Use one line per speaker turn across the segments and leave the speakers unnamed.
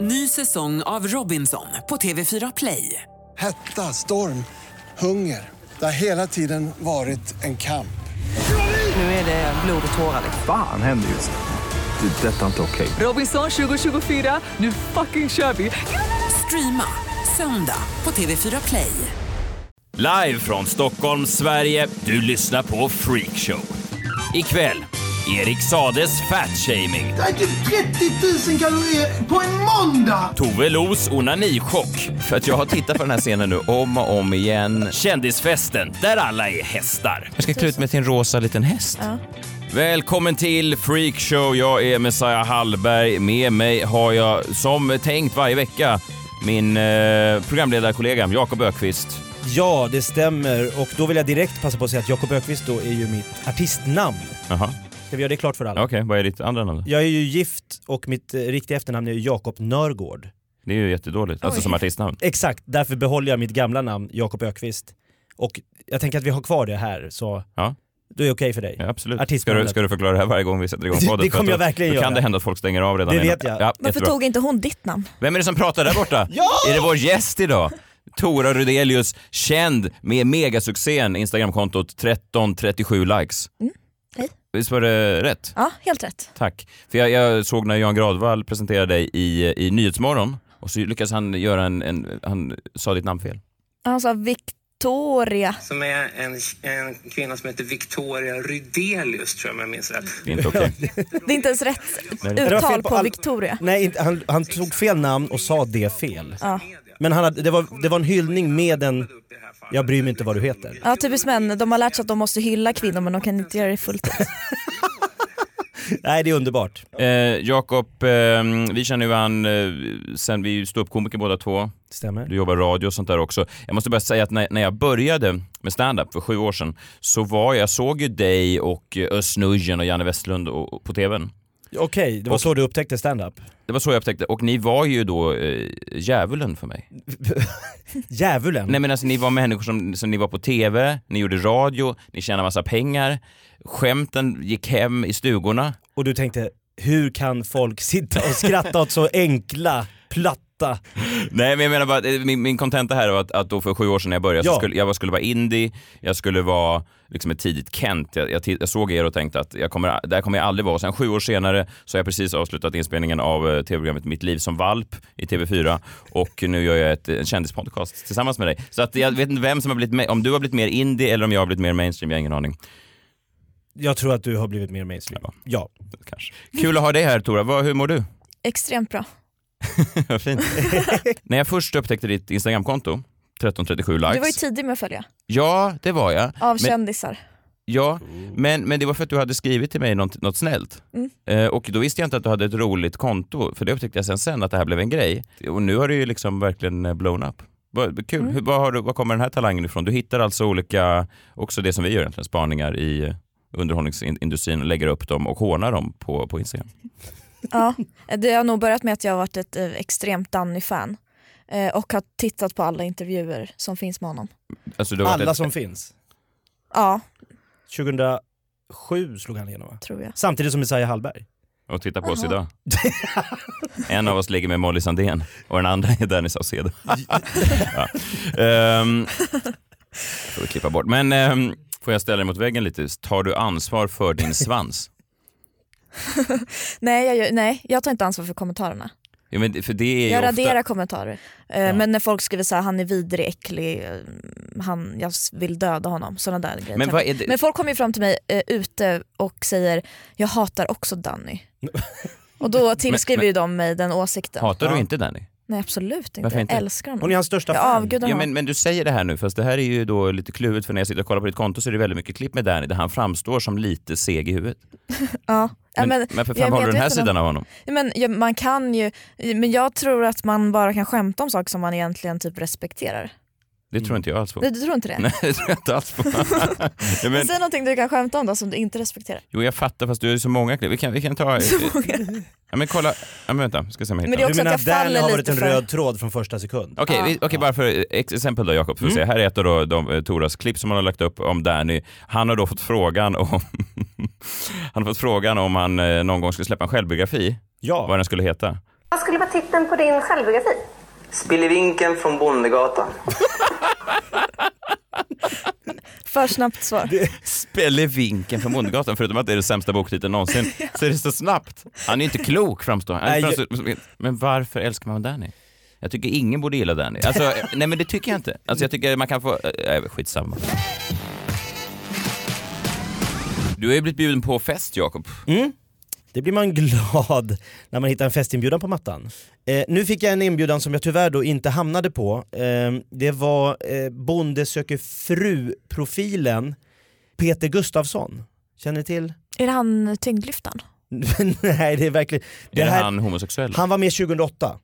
Ny säsong av Robinson på TV4 Play.
Hetta, storm, hunger. Det har hela tiden varit en kamp.
Nu är det blod och tårar. liksom.
Fan händer just nu. Det. är Detta är inte okej.
Robinson 2024, nu fucking kör vi! Streama söndag på TV4 Play.
Live från Stockholm, Sverige. Du lyssnar på Freakshow. Ikväll, Erik Sades fatshaming.
Jag äter 30 000 kalorier på en måndag!
Tove Los onanichock.
För att jag har tittat på den här scenen nu om och om igen.
Kändisfesten, där alla är hästar.
Jag ska klä ut mig till en rosa liten häst.
Välkommen till Freakshow. Jag är Messiah Hallberg. Med mig har jag, som tänkt varje vecka, min eh, programledarkollega Jakob Ökvist.
Ja, det stämmer. Och då vill jag direkt passa på att säga att Jakob Ökvist då är ju mitt artistnamn.
Jaha,
Ska vi göra det klart för alla?
okej. Vad är ditt andra namn?
Jag är ju gift och mitt eh, riktiga efternamn är ju Jakob Nörgård.
Det är ju jättedåligt. Alltså som artistnamn.
Exakt, därför behåller jag mitt gamla namn Jakob Ökvist. Och jag tänker att vi har kvar det här, så
Ja.
då är det okej för dig.
Ja, absolut. Ska du,
Artistnamnet.
ska du förklara det här varje gång vi sätter igång
Det-
podden?
det
För
kommer
att
jag
då-
verkligen
då kan
göra.
det hända att folk stänger av redan
Det
innan-
vet jag.
Ja,
Varför
jättebra.
tog inte hon ditt namn?
Vem är det som pratar där borta? Är det vår gäst idag? Tora Rudelius, känd med megasuccén Instagramkontot 1337 likes.
Mm, hej.
Visst var det rätt?
Ja, helt rätt.
Tack. För jag, jag såg när Jan Gradvall presenterade dig i, i Nyhetsmorgon och så lyckades han göra en, en han sa ditt namn fel.
Han sa Victoria.
som är en, en kvinna som heter Victoria Rydelius, tror jag om jag minns rätt.
Det är inte okej.
Det är inte ens rätt
Det var fel
uttal
på
på
all-
Victoria.
Nej, inte, han, han tog fel namn och sa det fel.
Ja.
Men han hade, det, var, det var en hyllning med en “jag bryr mig inte vad du heter”.
Ja, typiskt män. De har lärt sig att de måste hylla kvinnor men de kan inte göra det fullt ut.
Nej, det är underbart.
Eh, Jakob, eh, vi känner ju han eh, sen vi stod upp komiker båda två.
Stämmer.
Du jobbar radio och sånt där också. Jag måste bara säga att när, när jag började med stand-up för sju år sedan så var jag, såg ju dig och eh, Özz Nujen och Janne Westlund och, och på TVn.
Okej, det var så du upptäckte stand-up.
Det var så jag upptäckte, och ni var ju då eh, djävulen för mig.
Djävulen.
Nej men alltså ni var människor som, som ni var på TV, ni gjorde radio, ni tjänade massa pengar, skämten gick hem i stugorna.
och du tänkte hur kan folk sitta och skratta åt så enkla, platta...
Nej men jag menar bara, att, eh, min min kontenta här var att, att då för sju år sedan när jag började
Ja.
så skulle jag var- skulle vara indie, jag skulle vara liksom ett tidigt Kent. Jag, jag, ti- jag såg er och tänkte att jag kommer, där kommer jag aldrig vara. Och sen sju år senare så har jag precis avslutat inspelningen av eh, tv-programmet Mitt liv som valp i TV4 och nu gör jag ett, en kändispodcast tillsammans med dig. Så att jag vet inte vem som har blivit, me- om du har blivit mer indie eller om jag har blivit mer mainstream, jag har ingen aning.
Jag tror att du har blivit mer mainstream.
Ja.
Ja.
Kanske. Kul att ha dig här Tora, Vad- hur mår du?
Extremt bra.
Vad fint. När jag först upptäckte ditt Instagramkonto, 1337 likes.
Du var ju tidig med att följa.
Ja, det var jag.
typ- Av
men,
kändisar.
ja, men, men det var för att du hade skrivit till mig något, något snällt. Eh, och då visste jag inte att du hade ett roligt konto, för det upptäckte jag sen, sen att det här blev en grej. Och nu har det ju liksom verkligen eh, blown up. Vad kul. Hur, vad har du, var kommer den här talangen ifrån? Du hittar alltså olika, också det som vi gör egentligen, spaningar i eh, underhållningsindustrin och lägger upp dem och hånar dem på, på Instagram.
Ja. Det har nog börjat med att jag har varit ett eh, extremt Danny-fan. Eh, Och har tittat på alla intervjuer som finns med honom.
Alltså, du har varit
Alla
ett-
som finns.
Ja,
2007 slog han igenom va?
tror jag.
Samtidigt som Messiah Hallberg.
Och titta på oss idag. en av oss ligger med Molly Sandén och den andra är Danny Saucedo. ja. um, får vi klippa bort. Men ehm, får jag ställa dig mot väggen lite? Tar du ansvar för din svans?
Nej jag, gör- nej, jag tar inte ansvar för kommentarerna.
Ja, men det- för det är ju
Jag raderar
ofta...
kommentarer. Eh, Men när folk skriver så här, han är vidrig, äcklig, eh, han, jag s- vill döda honom. Såna där grejer.
Men vad är det?
men folk kommer ju fram till mig eh, ute och säger, jag hatar också Danny. och då tillskriver
Men- men-
ju de mig den åsikten.
Hatar du
Ja.
inte Danny?
Nej absolut inte,
Varför inte?
jag älskar honom.
Hon är hans största
jag
fan.
avgudar
Ja,
honom.
men, men du säger det här nu, fast det här är ju då lite klurigt för när jag sitter och kollar på ditt konto så är det väldigt mycket klipp med Danny där han framstår som lite seg i huvudet.
ja. Ja,
Men, men, för fan håller du den här
medveten om-
sidan av honom?
Ja, Men, ja, man kan ju, men jag tror att man bara kan skämta om saker som man egentligen typ respekterar.
Det tror inte jag alls på.
Du, du tror inte Mm. det?
Nej, det tror jag inte alls på. Ja, men-
Säg någonting du kan skämta om då som du inte respekterar.
Jo jag fattar fast du har ju så många klipp. Vi kan, vi kan ta... eh, Ja men kolla, ja, men vänta, ska se om jag
Men
hittar
det är
något.
Du
också
menar
att
att
jag
Danny
faller
har
lite
varit en
för-
röd tråd från första sekund?
Okej, vi- okej, bara för ex- exempel då Jakob, får vi se. Här är ett av då, de, eh, Toras klipp som han har lagt upp om Danny. Han har då fått frågan om han har fått frågan om han eh, någon gång skulle släppa en självbiografi, vad
Ja.
den skulle heta.
Vad skulle vara titeln på din självbiografi?
Spillevinken från Bondegatan.
För snabbt svar.
Spelevinken från Bondegatan, förutom att det är den sämsta boktiteln någonsin, så är det så snabbt. Han är inte klok framstår han.
Nej,
Framstår- Men varför älskar man Danny? Jag tycker ingen borde gilla Danny. Alltså, nej men det tycker jag inte. Alltså jag tycker man kan få, äh, skitsamma. Du har ju blivit bjuden på fest Jakob.
Mm. Det blir man glad när man hittar en festinbjudan på mattan. Eh, nu fick jag en inbjudan som jag tyvärr då inte hamnade på. Eh, det var eh, Bonde söker fru-profilen Peter Gustafsson. Känner ni till?
Är det han tyngdlyftaren?
Nej det är verkligen...
är det han homosexuell?
han var med 2008.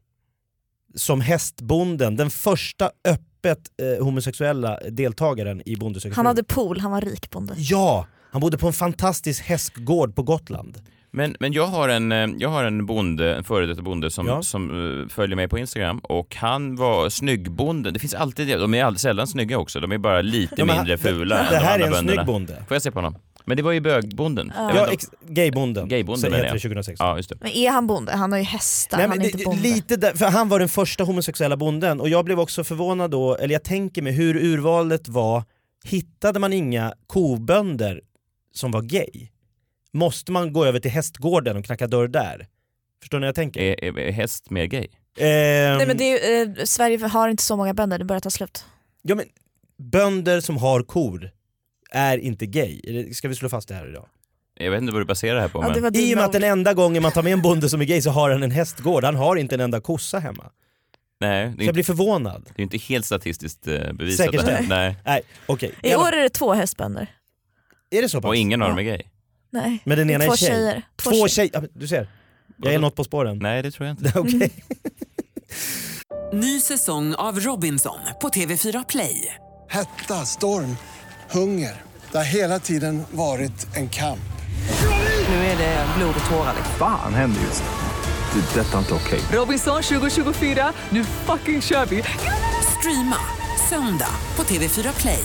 Som hästbonden, den första öppet eh, homosexuella deltagaren i Bonde söker
Han
fru.
hade pool, han var rik bonde.
Ja! Han bodde på en fantastisk hästgård på Gotland.
Men, men jag har en, eh, jag har en bonde, en före detta bonde som,
Ja.
som eh, följer mig på Instagram och han var snyggbonden. Det finns alltid det. De är all- sällan snygga också. De är bara lite
Ja, men
mindre
han-
fula än
Det
de
här är
andra
en
bönderna.
snygg bonde.
Får jag se på honom? Men det var ju bögbonden. Jag vet
Ja,
inte om-
ex- gaybonden.
Gaybonden,
Som
menar
heter
jag.
2006.
ja, just det.
Men är han bonde? Han har ju hästar,
Nej,
han
men
är
det-
inte bonde.
lite där, för han var den första homosexuella bonden och jag blev också förvånad då, eller jag tänker mig hur urvalet var, hittade man inga kobönder som var gay? Måste man gå över till hästgården och knacka dörr där? Förstår ni vad jag tänker?
Är, är, är häst mer gay?
Ehm,
Nej, men det är, ju, eh, Sverige har inte så många bönder, det börjar ta slut.
ja, men, bönder som har kor är inte gay, Eller ska vi slå fast det här idag?
Jag vet inte vad du baserar det här på.
Ja, det
men...
var
I och med
dina
att den
ord.
enda gången man tar med en bonde som är gay så har han en hästgård, han har inte en enda kossa hemma.
Nej, det är,
Så jag
inte,
blir förvånad.
det är inte helt statistiskt eh, bevisat.
Säkerställt.
det här. Nej.
Nej, okej.
I år är det två hästbönder.
Är det så pass?
Och ingen av dem är gay.
Nej.
Men den
Det är
ena är
två
tjej.
tjejer.
Två,
tjejer.
tjejer, ja, men du ser. Jag är något på spåren.
Nej, det tror jag inte.
Okej.
Ny säsong av Robinson på TV4 Play.
Hetta, storm, hunger. Det har hela tiden varit en kamp.
Nu är det blod och tårar. liksom.
Fan händer just det. Det är detta inte okej.
Robinson 2024, nu fucking kör vi! Streama söndag på TV4 Play.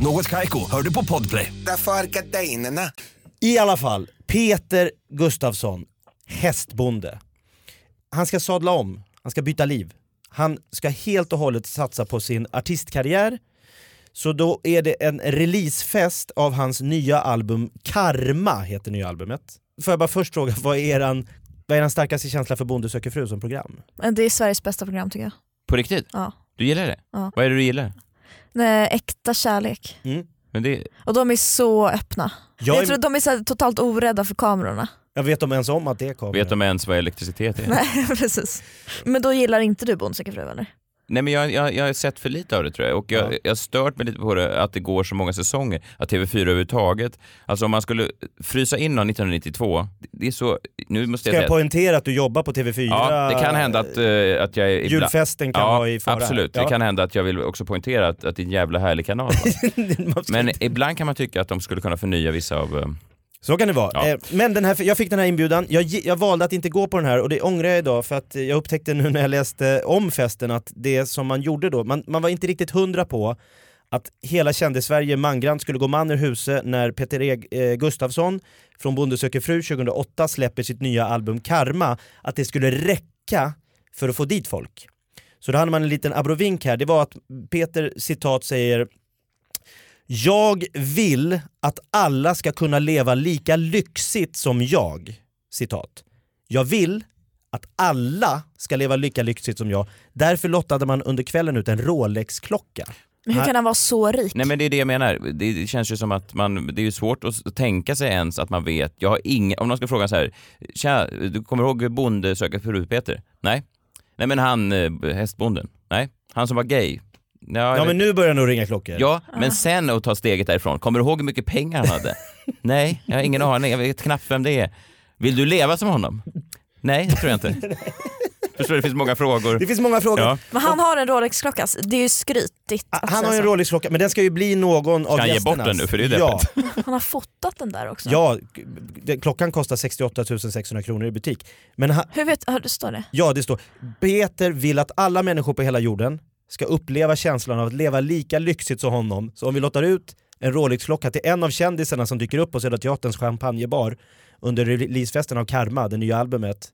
Något Kaiko, hör du på Podplay.
Därför är gardinerna.
I alla fall, Peter Gustafsson, hästbonde. Han ska sadla om, han ska byta liv. Han ska helt och hållet satsa på sin artistkarriär. Så då är det en releasefest av hans nya album Karma, heter nya albumet. Får jag bara först fråga, vad är eran, vad är eran starkaste känsla för Bonde söker fru som program?
Men Det är Sveriges bästa program tycker jag.
På riktigt?
Ja.
Du gillar det?
Ja.
Vad är det du gillar?
Nej, äkta kärlek.
Men det,
Och de är så öppna. Jag,
Jag, är,
tror att de är så här totalt orädda för kamerorna.
jag vet om ens om att det kommer.
vet de ens vad elektricitet är?
Nej precis. Men då gillar inte du Bonde söker fru eller?
Nej men jag, jag, jag har sett för lite av det tror jag och jag,
Ja.
jag har stört mig lite på det att det går så många säsonger, att TV4 överhuvudtaget, alltså om man skulle frysa in någon 1992, det är så, nu måste
Ska
jag säga,
jag poängtera att du jobbar på TV4?
ja det kan hända att, eh, att jag är ibland-
Julfesten kan
ja,
vara i fara.
absolut,
Ja.
det kan hända att jag vill också poängtera att, att det är en jävla härlig kanal. va?
Man ska-
men ibland kan man tycka att de skulle kunna förnya vissa av, eh,
Så kan det vara.
Ja.
Eh, Men den här, jag fick den här inbjudan, jag, gi- jag valde att inte gå på den här och det ångrar jag idag för att jag upptäckte nu när jag läste om festen att det som man gjorde då, man, man var inte riktigt hundra på att hela kändis-Sverige mangrant skulle gå man ur huset när Peter Eg, eh, Gustafsson från Bonde söker fru 2008 släpper sitt nya album Karma, att det skulle räcka för att få dit folk. Så då hade man en liten abrovink här, det var att Peter citat säger jag vill att alla ska kunna leva lika lyxigt som jag. Citat. Jag vill att alla ska leva lika lyxigt som jag. Därför lottade man under kvällen ut en Rolex-klocka.
Men hur
Nej.
kan han vara så rik?
Nej men det är det jag menar. Det det känns ju som att man, det är ju svårt att s- tänka sig ens att man vet. Jag har ingen, om någon ska fråga så här, Tja, du kommer ihåg Bonde söker fru Peter? Nej. Nej men han, eh, hästbonden? Nej. Han som var gay? Ja,
Ja
eller-
men nu börjar det nog ringa klockor.
ja men sen att ta steget därifrån, kommer du ihåg hur mycket pengar han hade? Nej, jag har ingen aning, jag vet knappt vem det är. Vill du leva som honom? Nej, det tror jag inte. Förstår du, det finns många frågor.
Det finns många frågor.
Ja.
Men han har en Rolex-klocka, så det är ju skrytigt. alltså. att
Ah, Han
säga
har ju en
så.
Rolex-klocka, men den ska ju bli någon av
han ge
gästernas.
bort den nu? För det är ju
ja,
han har fotat den där också.
ja, k- den- klockan kostar 68 600 kronor i butik. Men han,
Hur vet, hör, står det?
ja, det står Peter vill att alla människor på hela jorden ska uppleva känslan av att leva lika lyxigt som honom. Så om vi lottar ut en Rolex-klocka till en av kändisarna som dyker upp på Södra Teaterns champagnebar under releasefesten av Karma, det nya albumet,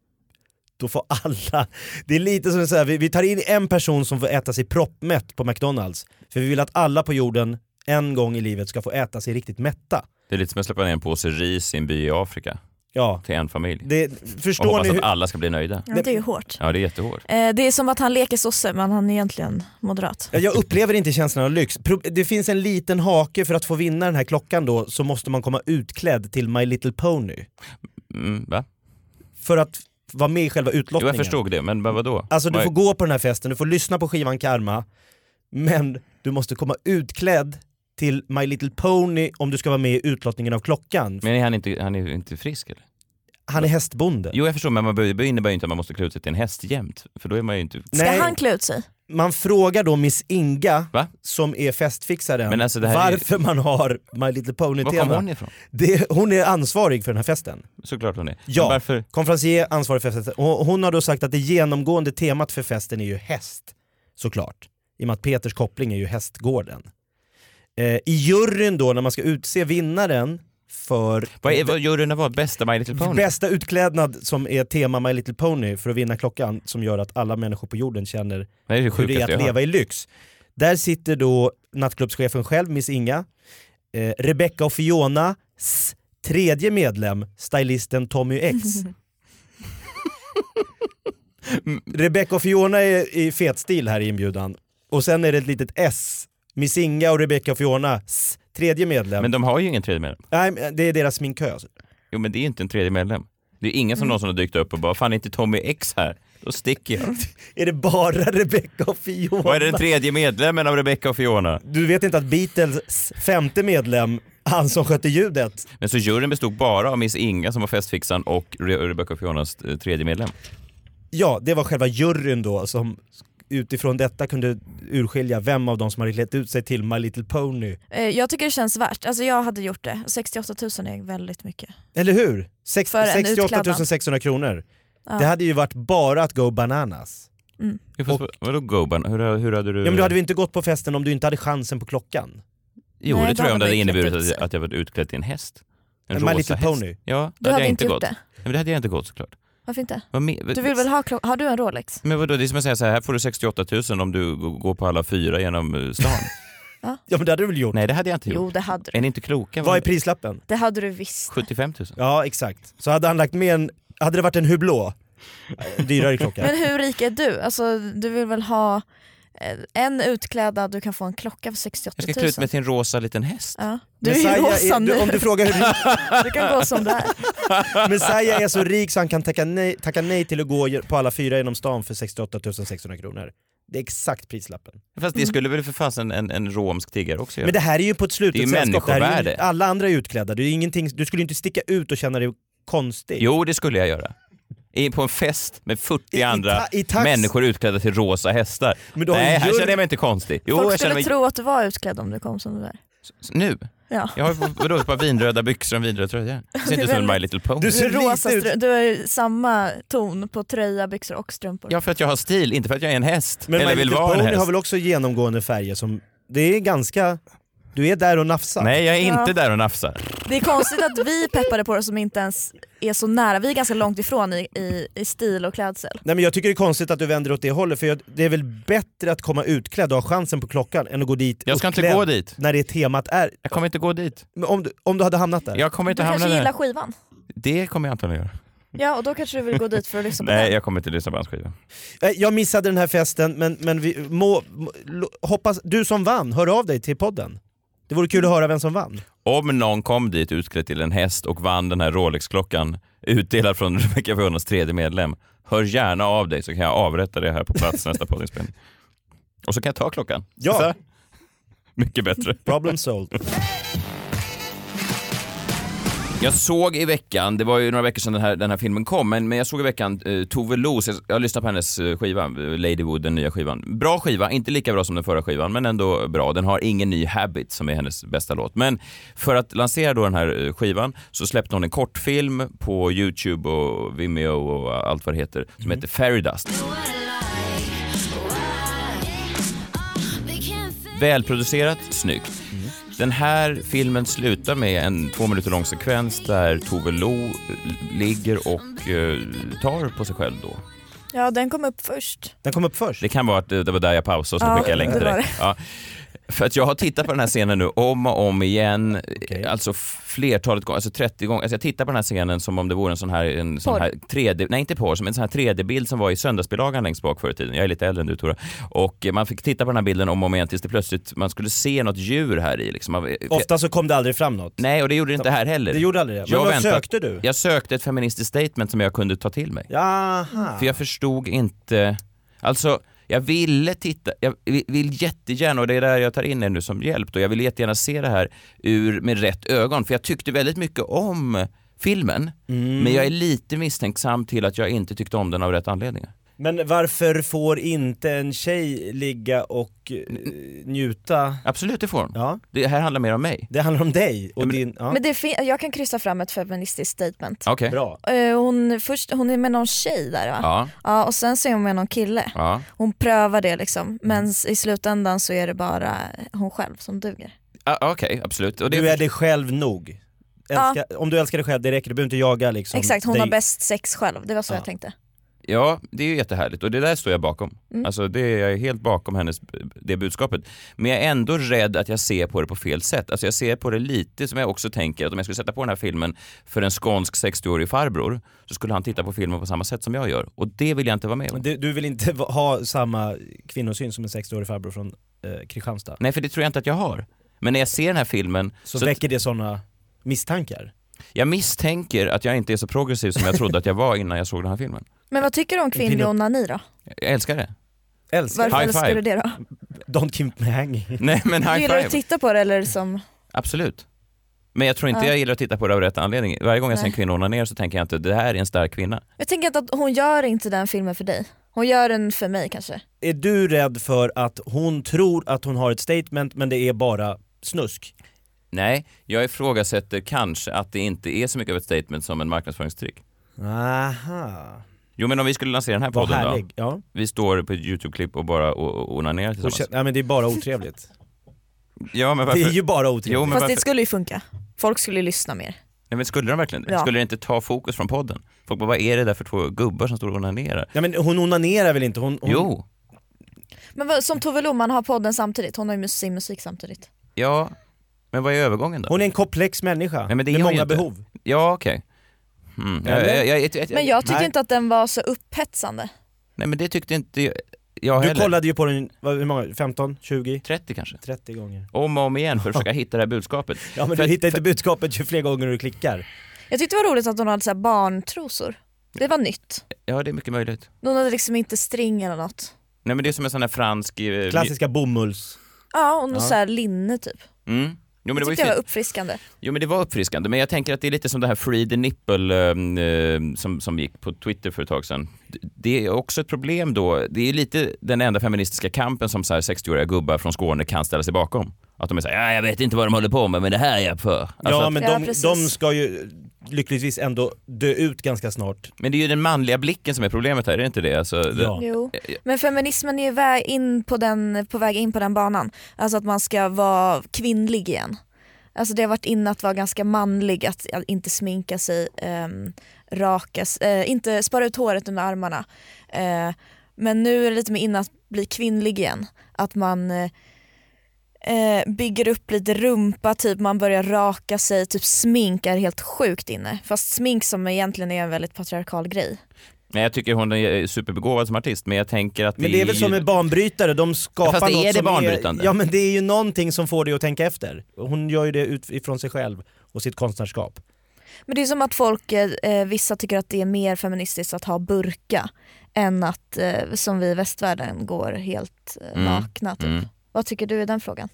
då får alla, det är lite som att vi, vi tar in en person som får äta sig proppmätt på McDonalds, för vi vill att alla på jorden en gång i livet ska få äta sig riktigt mätta.
Det är lite som att släppa ner en påse ris i en by i Afrika
Ja,
till en familj.
det,
Och
förstår
hoppas
ni hur...
att alla ska bli nöjda.
Ja, det är ju hårt.
Ja, det är jättehårt.
Eh, det är som att han leker sosse men han är egentligen moderat.
Eh,
Ja, Jag upplever inte känslan av lyx. Pro- Det finns en liten hake för att få vinna den här klockan då så måste man komma utklädd till My Little Pony.
Mm, va?
För att vara med i själva
Jo,
utlottningen.
jag förstod det, men vad- vadå?
Alltså du
Vad-
får gå på den här festen, du får lyssna på skivan Karma, men du måste komma utklädd till My Little Pony om du ska vara med i utlottningen av klockan.
Men är han inte, han är ju inte frisk eller?
Han är hästbonde.
Jo, jag förstår, men man be- det innebär ju inte att man måste klä ut sig till en häst jämt, för då är man ju inte...
Ska
Nej.
han klä ut sig?
Man frågar då Miss Inga,
Va?
som är festfixaren,
Men alltså, det här är ju-
varför man har My Little
Var kom hon
Pony-tema.
ifrån?
Det- Hon är ansvarig för den här festen.
Såklart hon är.
Ja.
Men varför?
Konferencier ansvarig för festen. Och hon har då sagt att det genomgående temat för festen är ju häst, såklart. I och med att Peters koppling är ju hästgården. Eh, I juryn då, när man ska utse vinnaren för
Vad, är, vad juryn har valt? Bästa My Little Pony?
bästa utklädnad som är tema My Little Pony för att vinna klockan som gör att alla människor på jorden känner
det är det
hur det
sjukaste
är
jag
att
har hört.
leva i lyx. Där sitter då nattklubbschefen själv, Miss Inga, eh, Rebecca och Fionas tredje medlem, stylisten Tommy X. Rebecca och Fiona är i fet stil här i inbjudan. Och sen är det ett litet S. Miss Inga och Rebecca och Fionas tredje medlem.
Men de har ju ingen tredje medlem.
Nej, men det är deras alltså. sminkös.
Jo, men det är ju inte en tredje medlem. Det är ingen som
Mm.
någonsin har dykt upp och bara, fan är inte Tommy X här? Då sticker
Mm.
jag.
Är det bara Rebecca och Fiona?
Vad är den tredje medlemmen av Rebecca och Fiona?
Du vet inte att Beatles femte medlem, han som skötte ljudet,
Men så juryn bestod bara av Miss Inga som var festfixaren och Re- Rebecca och Fionas eh, tredje medlem.
Ja, det var själva juryn då som utifrån detta kunde urskilja vem av dem som hade klätt ut sig till My Little Pony.
Eh, jag tycker det känns värt. Alltså jag hade gjort det. 68 000 är väldigt mycket.
Eller hur? Sex,
För en
68
utklädnad.
600 kronor. Det hade ju varit bara att go bananas.
Ja, fast vad- Vadå Goban? Hur, hur hade du...
Ja men du hade väl inte gått på festen om du inte hade chansen på klockan?
Jo,
Nej,
det
då
tror jag om det
hade
hade
man ju
inneburit
klätt
att
upp
jag, att jag var utklädd till en häst. En
En My
rosa
Little
häst.
Pony.
Ja,
Du
det hade
hade
jag
inte
inte
gjort
gått.
det?
Nej, men det hade jag inte gått såklart.
Varför inte?
Vad me-
Du vill väl ha klocka? Har du en Rolex?
Men vadå, det är som att säga så här, här får du 68 000 om du g- går på alla fyra genom eh, stan.
Ja men det hade du väl gjort?
Nej, det hade jag inte
Jo
gjort.
det hade
Är
du.
ni inte kloka?
Vad är prislappen?
Det hade du visst.
75 000.
Ja exakt. Så hade han lagt med en, hade det varit en hublå, en dyrare klocka.
Men hur rik är du? Alltså du vill väl ha eh, en utklädnad, du kan få en klocka för 68
Jag ska
000.
klä ut mig till en rosa liten häst.
Ja. Du är
Messiah
ju rosa
du-
nu,
Om du frågar hur
du kan gå som det är.
Messiah är så rik så han kan tacka nej, tacka nej till att gå ge- på alla fyra genom stan för 68 600 kronor. Det är exakt prislappen.
Fast
Mm.
det skulle väl för fasen en, en romsk tiggare också göra?
Men det här är ju på ett slutet
Det är ju
sällskap. Det här är ju,
människovärde.
alla andra är utklädda. Det är ju ingenting, du skulle ju inte sticka ut och känna dig konstig.
Jo, det skulle jag göra. I, på en fest med 40
I- i
andra
ta- i tax-
människor utklädda till rosa hästar.
Men du har
Nej,
ju
här
jury-
känner jag mig inte konstig. Jo,
Folk
jag känner
skulle
mig...
tro att du var utklädd om du kom som du är.
Nu?
Ja.
Jag har ju- vadå, ett par vinröda byxor och en vinröd tröja. Det ser
Det är
inte ut som en My
väldigt-
Little Pony.
Du
Du, är
ser
rosa
lite
stru-
ut...
du har ju samma ton på tröja, byxor och strumpor.
Ja, för att jag har stil, inte för att jag är en häst.
Men
eller
My
vill
Little
vara en
Pony
häst.
har väl också genomgående färger som, det är ganska, du är där och nafsar.
Nej, jag är
Ja.
inte där och nafsar.
Det är konstigt att vi peppade på det som inte ens är så nära. Vi är ganska långt ifrån i, i, i stil och klädsel.
Nej men jag tycker det är konstigt att du vänder åt det hållet för jag, det är väl bättre att komma utklädd och ha chansen på klockan än att gå dit
Jag ska inte
uppklädd
gå dit.
när det temat är,
Jag kommer inte gå dit.
Men om du, om du hade hamnat där.
Jag kommer
Du
inte hamna
kanske gillar
där.
skivan?
Det kommer jag antagligen göra.
Ja, och då kanske du vill gå dit för att lyssna på
Nej,
den.
jag kommer inte lyssna på hans skiva.
Eh, Jag missade den här festen, men, men vi må, må, lo- hoppas, du som vann, hör av dig till podden. Det vore kul att höra vem som vann.
Om någon kom dit utklädd till en häst och vann den här Rolex-klockan utdelad från Rebecca Fionas tredje medlem, hör gärna av dig så kan jag avrätta det här på plats nästa poddinspelning. Och så kan jag ta klockan.
Ja.
Så här. Mycket bättre.
Problem solved.
Jag såg i veckan, det var ju några veckor sedan den här, den här filmen kom, men, men jag såg i veckan eh, Tove Los, jag, jag lyssnade på hennes eh, skiva, eh, Ladywood, den nya skivan. Bra skiva, inte lika bra som den förra skivan, men ändå bra. Den har ingen ny habit som är hennes bästa låt. Men för att lansera då den här eh, skivan så släppte hon en kortfilm på Youtube och Vimeo och allt vad det heter, som heter Fairy Dust. Välproducerat, snyggt. Den här filmen slutar med en två minuter lång sekvens där Tove Lo ligger och eh, tar på sig själv då.
Ja, den kom upp först.
Den kom upp först.
Det kan vara att eh, det det var där jag pausade och så
Ja,
skickade jag länk till
det var
dig. Ja. För att jag har tittat på den här scenen nu om och om igen, alltså flertalet gånger, alltså 30 gånger. Alltså jag tittar på den här scenen som om det vore en sån här, en sån
Porr.
här 3D, nej inte porr, som en sån här 3D-bild som var i söndagsbilagan längst bak förr i tiden. Jag är lite äldre än du Tora. Och eh, man fick titta på den här bilden om och om igen tills det plötsligt, man skulle se något djur här i liksom. Man-
Ofta så kom det aldrig fram något.
Nej, och det gjorde det inte här heller.
Det gjorde aldrig det. Men
Jag
vad
väntat-
sökte du?
Jag sökte ett feministiskt statement som jag kunde ta till mig.
Jaha.
För jag förstod inte, alltså jag ville titta, jag vi- vill jättegärna, och det är där jag tar in er nu som hjälp, då, jag vill jättegärna se det här ur, med rätt ögon, för jag tyckte väldigt mycket om filmen,
Mm.
men jag är lite misstänksam till att jag inte tyckte om den av rätt anledningar.
Men varför får inte en tjej ligga och eh, njuta?
Absolut, det får hon.
Ja,
Det här handlar mer om mig.
det handlar om dig och
Ja, men-
din... Ja.
Men det fin- jag kan kryssa fram ett feministiskt statement.
Okej.
Bra.
Eh, Hon, först, hon är med någon tjej där va?
Ja,
Ja, och sen så är hon med någon kille.
ja.
Hon prövar det liksom, men s- i slutändan så är det bara hon själv som duger.
Ah, Okej, absolut. Och det
Du är dig själv nog. Älska, Om du älskar dig själv, det räcker. Du behöver inte jaga liksom.
Exakt, hon
dig.
har bäst sex själv, det var så
Ja.
jag tänkte.
Ja, det är ju jättehärligt och det där står jag bakom. Alltså det är jag helt bakom hennes, det budskapet. Men jag är ändå rädd att jag ser på det på fel sätt. Alltså jag ser på det lite som jag också tänker att om jag skulle sätta på den här filmen för en skånsk 60-årig farbror så skulle han titta på filmen på samma sätt som jag gör. Och det vill jag inte vara med om.
Du, du vill inte va- ha samma kvinnosyn som en 60-årig farbror från eh, Kristianstad.
Nej, för det tror jag inte att jag har. Men när jag ser den här filmen
Så,
så,
väcker det sådana misstankar.
jag misstänker att jag inte är så progressiv som jag trodde att jag var innan jag såg den här filmen.
Men vad tycker du om kvinnlig
Pinot-
onani då?
Jag älskar det.
Älskar.
Varför
High
älskar
five.
du det då?
Don't keep me hanging.
Nej men
Du
high
gillar du att
five.
titta på det eller som...
Absolut. Men jag tror inte
Ja.
jag gillar att titta på det av rätt anledning. Varje gång jag ser en
Nej.
kvinna ner så tänker jag inte det här är en stark kvinna.
Jag tänker inte att hon gör inte den filmen för dig. Hon gör den för mig kanske.
Är du rädd för att hon tror att hon har ett statement men det är bara snusk?
Nej, jag ifrågasätter kanske att det inte är så mycket av ett statement som en marknadsföringstrick.
Aha.
Jo men om vi skulle lansera den här
Vad
podden då.
härlig. Ja.
Vi står på ett YouTube-klipp och bara o- o- onanerar
Och
tillsammans.
kä- Nej men det är bara otrevligt.
Ja men varför?
Det är ju bara otrevligt.
Jo men
Fast
varför?
det skulle ju funka. Folk skulle ju lyssna mer.
Nej, men skulle de verkligen det?
Ja.
Skulle det inte ta fokus från podden? Folk bara, vad är det där för två gubbar som står och onanerar?
Nej men hon onanerar väl inte? Hon, hon...
Jo,
Men vad, som Tove Lo, man har podden samtidigt, hon har ju mus- sin musik samtidigt.
ja, men vad är övergången då?
Hon är en komplex människa
Nej, men det är
med
hon ju
många
inte.
behov.
Ja okej. Mm. Jag,
Eller?
jag, jag, jag, jag,
Men jag tyckte
Nej.
inte att den var så upphetsande.
Nej men det tyckte inte jag, jag
Du
heller.
kollade ju på den, vad- hur många, 15, 20,
30 kanske.
30 gånger.
om och om igen för att försöka hitta det här budskapet.
Ja
För
men du
att-
hittar inte budskapet ju fler gånger du klickar.
Jag tyckte det var roligt att hon hade så här barntrosor. Det var nytt.
Ja, det är mycket möjligt.
Hon hade liksom inte string eller något.
Nej men det är som en sån här fransk... eh,
Klassiska bomulls...
Ja, och någon
Ja.
så här linne typ.
Mm. Jo, men det
Jag
var ju
tyckte det var
fint.
uppfriskande.
Jo men det var uppfriskande, men jag tänker att det är lite som det här Free the Nipple ehm, eh, som, som gick på Twitter för ett tag sedan. D- Det är också ett problem då, det är lite den enda feministiska kampen som så här 60-åriga gubbar från Skåne kan ställa sig bakom. Att de är såhär, ja, jag vet inte vad de håller på med men det här är jag för. Alltså,
ja
att,
men
Ja,
de,
precis.
de ska ju lyckligtvis ändå dö ut ganska snart.
men det är ju den manliga blicken som är problemet här, är det inte det? Alltså, det
Ja.
Jo. Men feminismen är ju väg in på, den, på väg in på den banan. Alltså att man ska vara kvinnlig igen. Alltså det har varit inne att vara ganska manlig, att inte sminka sig, ehm, raka, s- eh, inte spara ut håret under armarna. Eh, men nu är det lite mer inne att bli kvinnlig igen. Att man eh, eh, bygger upp lite rumpa, typ man börjar raka sig, typ smink är helt sjukt inne. Fast smink som egentligen är en väldigt patriarkal grej.
Nej, jag tycker hon är superbegåvad som artist men jag tänker att
Men det är väl som med banbrytare, de skapar
Fast är
något
det
som
banbrytande?
Är, ja men det är ju någonting som får dig att tänka efter. Hon gör ju det utifrån sig själv och sitt konstnärskap.
Men det är som att folk, eh, eh, vissa tycker att det är mer feministiskt att ha burka än att, eh, som vi i västvärlden, går helt eh,
Mm.
nakna. Typ.
Mm.
Vad tycker du i den frågan?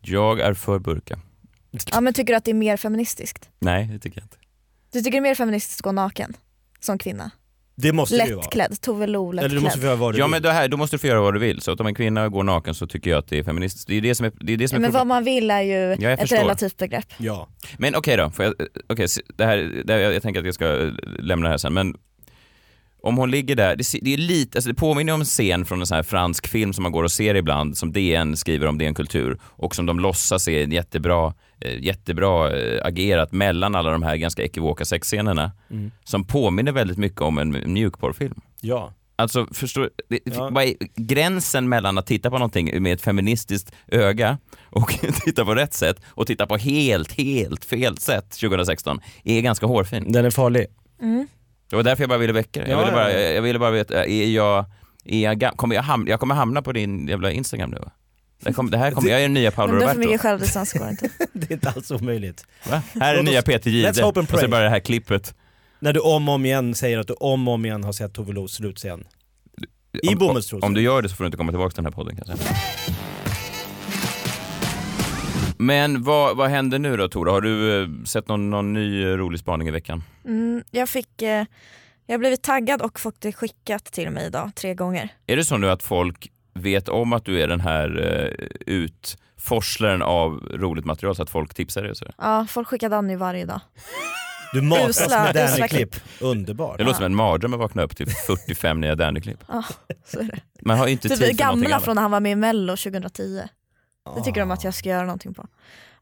Jag är för burka.
Ja men tycker du att det är mer feministiskt?
Nej, det tycker jag inte.
Du tycker det är mer feministiskt att gå naken? Som kvinna?
Det måste det ju vara.
Lättklädd, Tove Lo lättklädd.
Eller du måste få göra vad du
Ja
vill.
men det här, då måste du få göra vad du vill. Så att om en kvinna går naken så tycker jag att det är feministiskt. Det är det som är, det är, det som
Ja,
är
men
problemet.
vad man vill är ju
jag
ett
förstår.
relativt begrepp.
Ja.
Men okej då, får jag, okej, s- det här, det här, jag, jag tänker att jag ska eh, lämna det här sen, men om hon ligger där, det, ser- det, är lite, alltså det påminner om en scen från en sån här fransk film som man går och ser ibland, som DN skriver om DN Kultur och som de låtsas är en jättebra, eh, jättebra eh, agerat mellan alla de här ganska ekivoka sexscenerna
Mm.
som påminner väldigt mycket om en mjukporrfilm.
Ja.
Alltså förstår, det,
Ja.
vad är gränsen mellan att titta på någonting med ett feministiskt öga och titta på rätt sätt och titta på helt, helt fel sätt 2016 är ganska hårfin.
Den är farlig.
Mm.
Det var därför jag bara ville väcka det. Jag
Ja,
ville
ja,
bara,
ja.
jag ville bara veta, är jag, är jag, gam- kommer jag, hamna, jag kommer hamna på din jävla Instagram nu va? Det, kom, det här kommer, jag är den nya Paolo
Om du har för
Roberto.
mycket självdistans går det inte.
Det är inte alls omöjligt.
Va? Här är den
Låt
nya
oss-
Peter Jihde.
let's hope and
Och så
pray.
bara det här klippet.
När du om och om igen säger att du om och om igen har sett Tove Los slutscen. I
Om-
bomullstrosor.
Om du gör det så får du inte komma tillbaka till den här podden kanske. Men vad, vad händer nu då Tora? Har du eh, sett någon, någon ny eh, rolig spaning i veckan?
Mm, jag fick, eh, jag har blivit taggad och fått det skickat till mig idag tre gånger.
Är det så nu att folk vet om att du är den här eh, utforslaren av roligt material så att folk tipsar dig och sådär?
Ja, folk skickar Danny varje dag.
Du matas
Usla-
med
usla
Danny-klipp. Underbart.
Det låter som en mardröm att vakna upp till 45 nya Danny-klipp.
Ja, så är det.
Man har ju inte
Typ
tid för någonting
gamla
annat.
från när han var med i mello 2010. Det tycker de att jag ska göra någonting på.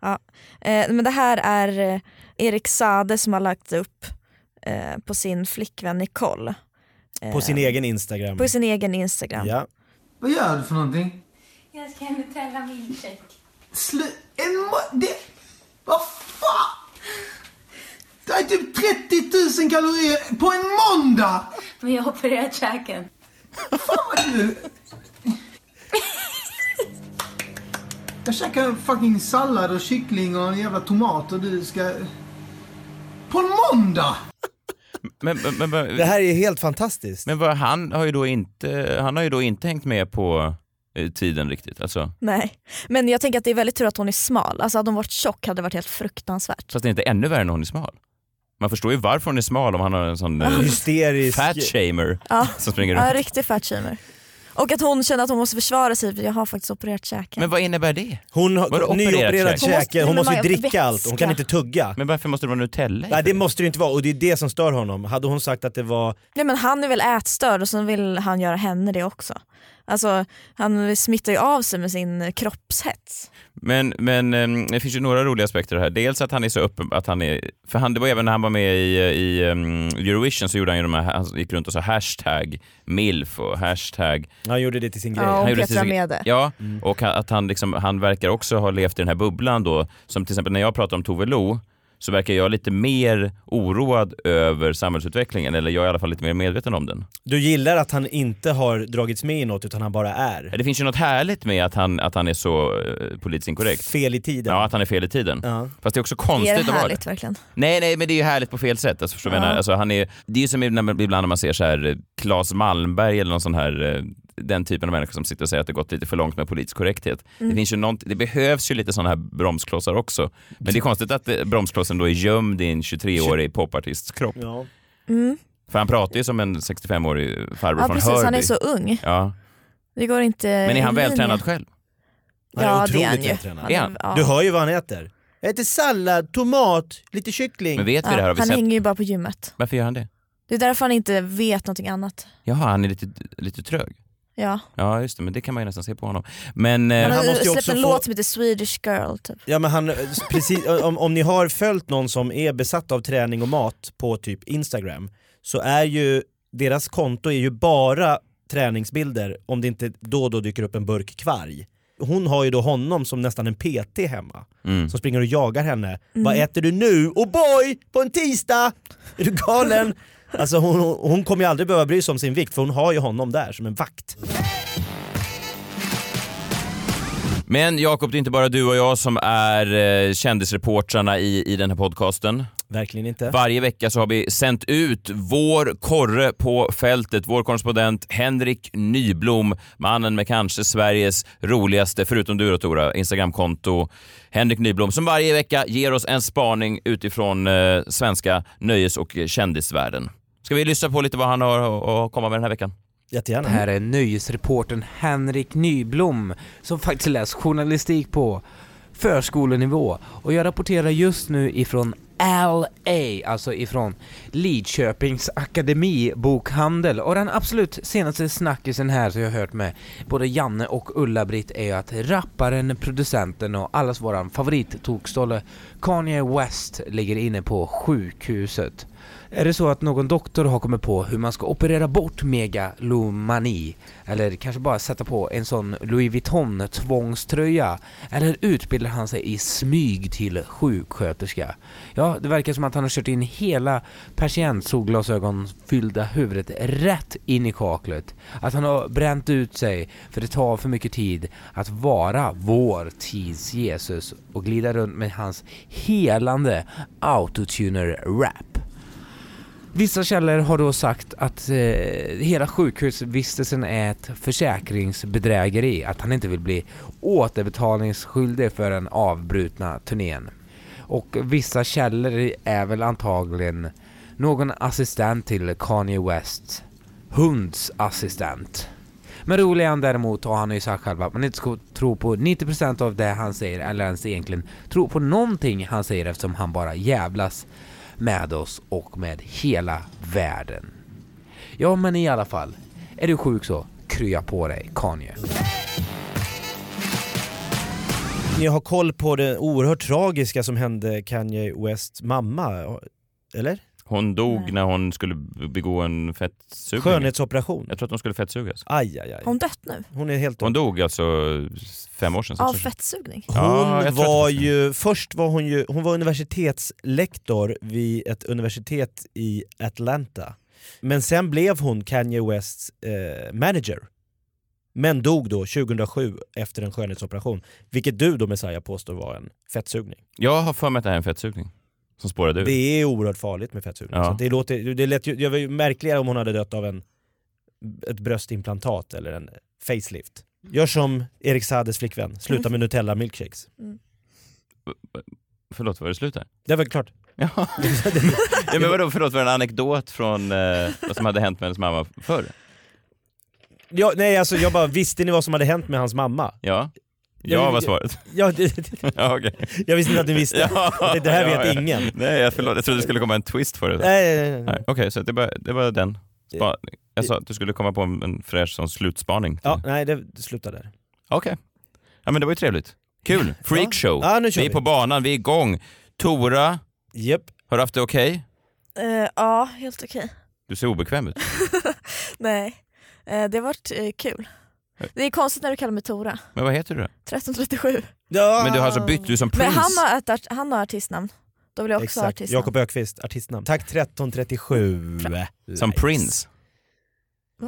Ja. Eh, men det här är eh, Erik Sade som har lagt upp eh, på sin flickvän Nicole. Eh,
På sin egen Instagram.
på sin egen Instagram.
Ja.
Vad gör du för någonting?
Jag ska Nutella milkshake.
Slu... En ma- det... Vad fan! Det är typ 30 000 kalorier på en måndag!
Men jag har opererat käken.
Fan vad du... Jag käkar en fucking sallad och kyckling och en jävla tomat och du ska... På en måndag!
Men, men, men, vad-
Det här är helt fantastiskt.
men vad, han, har ju då inte, han har ju då inte hängt med på eh, tiden riktigt. Alltså,
Nej. Men jag tänker att det är väldigt tur att hon är smal. Alltså hade hon varit tjock hade det varit helt fruktansvärt.
Fast det är inte ännu värre när hon är smal. Man förstår ju varför hon är smal om han har en sån eh,
Hysterisk.
fat shamer
Ja.
som springer
Ja,
runt.
riktig fatshamer. Och att hon känner att hon måste försvara sig för jag har faktiskt opererat käken.
Men vad innebär det?
Hon
Vadå,
har
opererat
nyopererat
käke?
Hon måste-
käke, hon
Nej,
måste ju
men man-
dricka
vätska.
allt, hon kan inte tugga.
Men varför måste det vara Nutella? i
Nej
för?
det måste det ju inte vara och det är det som stör honom. Hade hon sagt att det var
Nej men han är väl ätstörd och så vill han göra henne det också. Alltså han smittar ju av sig med sin eh, kroppshets.
Men, men ehm, det finns ju några roliga aspekter här. Dels att han är så öppen, att han är, för han, det var även när han var med i, eh, i ehm, Eurovision så gjorde han ju de här, han gick runt och sa hashtag milf och hashtag
han gjorde det till sin grej.
Ja, och
Han gjorde
Petra
sin-
med det.
Ja, och ha- att han, liksom, han verkar också ha levt i den här bubblan då. Som till exempel när jag pratar om Tove Lo så verkar jag lite mer oroad över samhällsutvecklingen, eller jag är i alla fall lite mer medveten om den.
Du gillar att han inte har dragits med i något utan han bara är.
Det finns ju något härligt med att han, att han är så eh, politiskt inkorrekt.
Fel i tiden.
Ja, att han är fel i tiden.
Ja.
Fast det är också
Det är
konstigt
det
att vara det.
härligt verkligen.
Nej, nej, men det är ju härligt på fel sätt. Alltså, förstår du vad jag
Ja.
menar? alltså, han är, det är ju som ibland när- ibland när man ser så här eh, Claes Malmberg eller någon sån här eh, den typen av människor som sitter och säger att det gått lite för långt med politisk korrekthet.
Mm.
Det, finns ju nånt, det behövs ju lite sådana här bromsklossar också. Men det är konstigt att eh, bromsklossen då är gömd i en 23-årig popartists kropp.
Ja.
Mm.
För han pratar ju som en 65-årig farbror
Ja
från
precis,
Hörby.
han är så ung.
ja.
Det går inte
Men är han
i linje.
vältränad själv?
Han är
Ja det
otroligt
är han ju.
vältränad.
Är han?
Ja.
Du hör ju vad han äter. Jag äter sallad, tomat, lite kyckling.
Men vet vi det här? Har
Ja,
vi
han
sett?
hänger ju bara på gymmet.
Varför gör han det?
Det är därför han inte vet någonting annat.
Jaha, han är lite, lite trög.
Ja.
Ja, just det, men det kan man ju nästan se på honom. Men... eh,
Han har
han måste ju
släppt
också
en
få-
låt som heter Swedish Girl typ.
Ja men han, precis, om, om ni har följt någon som är besatt av träning och mat på typ Instagram så är ju deras konto är ju bara träningsbilder om det inte då och då dyker upp en burk kvarg. Hon har ju då honom som nästan en PT hemma
Mm.
som springer och jagar henne. Vad äter du nu? Och boy! På en tisdag! Är du galen? Alltså hon, hon kommer ju aldrig behöva bry sig om sin vikt för hon har ju honom där som en vakt.
Men Jakob, det är inte bara du och jag som är eh, kändisreportrarna i, i den här podcasten.
Verkligen inte.
Varje vecka så har vi sänt ut vår korre på fältet, vår korrespondent Henrik Nyblom, mannen med kanske Sveriges roligaste, förutom du då Tora, Instagramkonto Henrik Nyblom som varje vecka ger oss en spaning utifrån eh, svenska nöjes och kändisvärlden. Ska vi lyssna på lite vad han har att komma med den här veckan?
Jättegärna.
Här är nöjesreportern Henrik Nyblom som faktiskt läst journalistik på förskolenivå och jag rapporterar just nu ifrån LA, alltså ifrån Lidköpings akademibokhandel och den absolut senaste snackisen här som jag har hört med både Janne och Ulla-Britt är ju att rapparen, producenten och allas våran favorittokstolle Kanye West ligger inne på sjukhuset. Är det så att någon doktor har kommit på hur man ska operera bort megalomani? Eller kanske bara sätta på en sån Louis Vuitton tvångströja? Eller utbildar han sig i smyg till sjuksköterska? Ja, det verkar som att han har kört in hela persiennsolglasögon fyllda huvudet rätt in i kaklet. Att han har bränt ut sig för det tar för mycket tid att vara vår tids Jesus och glida runt med hans helande autotuner-rap. Vissa källor har då sagt att eh, hela sjukhusvistelsen är ett försäkringsbedrägeri, att han inte vill bli återbetalningsskyldig för den avbrutna turnén. Och vissa källor är väl antagligen någon assistent till Kanye West, hunds assistent. Men rolig är han däremot och han har ju sagt själv att man inte ska tro på 90% av det han säger eller ens egentligen tro på någonting han säger eftersom han bara jävlas med oss och med hela världen. Ja men i alla fall, är du sjuk så krya på dig Kanye.
Ni har koll på det oerhört tragiska som hände Kanye Wests mamma, eller?
Hon dog när hon skulle begå en fettsugning.
Skönhetsoperation.
Jag tror att hon skulle fettsugas.
Aj, aj, aj.
Hon dött nu?
Hon är helt
Hon dog alltså fem år sedan. sex
Av
år sedan.
fettsugning?
Hon
Ja, jag tror att
var
det
ju, först var hon ju, hon var universitetslektor vid ett universitet i Atlanta. Men sen blev hon Kanye Wests eh, manager. Men dog då 2007 efter en skönhetsoperation. Vilket du då Messiah påstår var en fettsugning.
Jag har för mig att det här är en fettsugning som spårade ur.
Det är oerhört farligt med fettsugning.
Ja.
Så att det, låter, det lät ju, det var ju märkligare om hon hade dött av en, ett bröstimplantat eller en facelift. Gör som Erik Saades flickvän, sluta med Nutella milkshakes.
Förlåt, var det slut där?
Det var klart.
Ja. ja, men vadå, förlåt, var det en anekdot från eh, vad som hade hänt med hennes mamma förr?
Ja, nej alltså jag bara, visste ni vad som hade hänt med hans mamma?
Ja?
Ja,
Ja,
men-
var svaret.
Ja, det,
Ja, okej.
jag visste inte att ni visste. Det- det här vet ingen.
Nej, jag, förlåt, jag trodde det skulle komma en twist för det.
Nej, nej, nej, nej.
Okej, så det var, det var den. Spa- jag sa att du skulle komma på en, en fräsch sån slutspaning.
Ja, nej det det slutar där.
Okej. Ja men det var ju trevligt. Kul. Freakshow.
Ja, nu kör
vi Oh. är
vi.
på banan, vi är igång. Tora,
Japp.
har du haft det okej?
Eh, ja, helt okej.
Du ser obekväm ut.
Nej, Eh, det har varit eh, kul. Det är konstigt när du kallar mig Tora,
Men vad heter du då?
1337.
Men du har alltså bytt, du är som
Men
Prince.
han har, ett, art- han har artistnamn, då vill jag också ha
Exakt,
artistnamn.
Jakob Ökvist, artistnamn. Tack 1337.
Som
Likes.
Prince.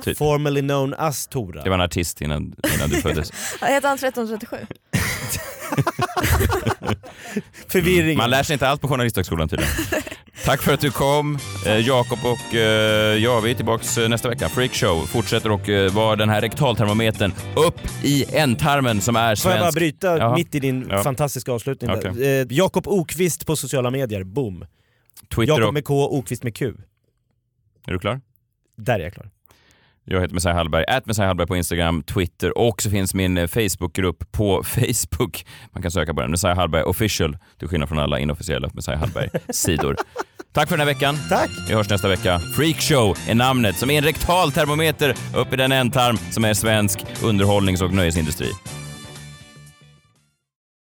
Typ.
Formerly known as Tora.
Det var en artist innan, innan du föddes.
Heter han 1337?
Förvirring.
Man lär sig inte allt på Journalisthögskolan tydligen. Tack för att du kom. Eh, Jakob och eh, jag, vi är tillbaks eh, nästa vecka. Freakshow fortsätter och eh, vara den här rektaltermometern upp i ändtarmen som är svensk.
Får jag bara bryta
Jaha.
mitt i din
Ja.
fantastiska avslutning? där?
Okej.
Eh, Jakob Okvist på sociala medier, boom.
Twitter
Jakob
och...
med K, Okvist med Q.
Är du klar?
Där är jag klar.
Jag heter Messiah Hallberg, at Messiah Hallberg på Instagram, Twitter och så finns min eh, Facebookgrupp på Facebook. Man kan söka på den, Messiah Hallberg official, till skillnad från alla inofficiella Messiah Hallberg-sidor. Tack för den här veckan.
Tack.
Vi hörs nästa vecka. Freakshow är namnet, som är en rektal termometer upp i den ändtarm som är svensk underhållnings och nöjesindustri.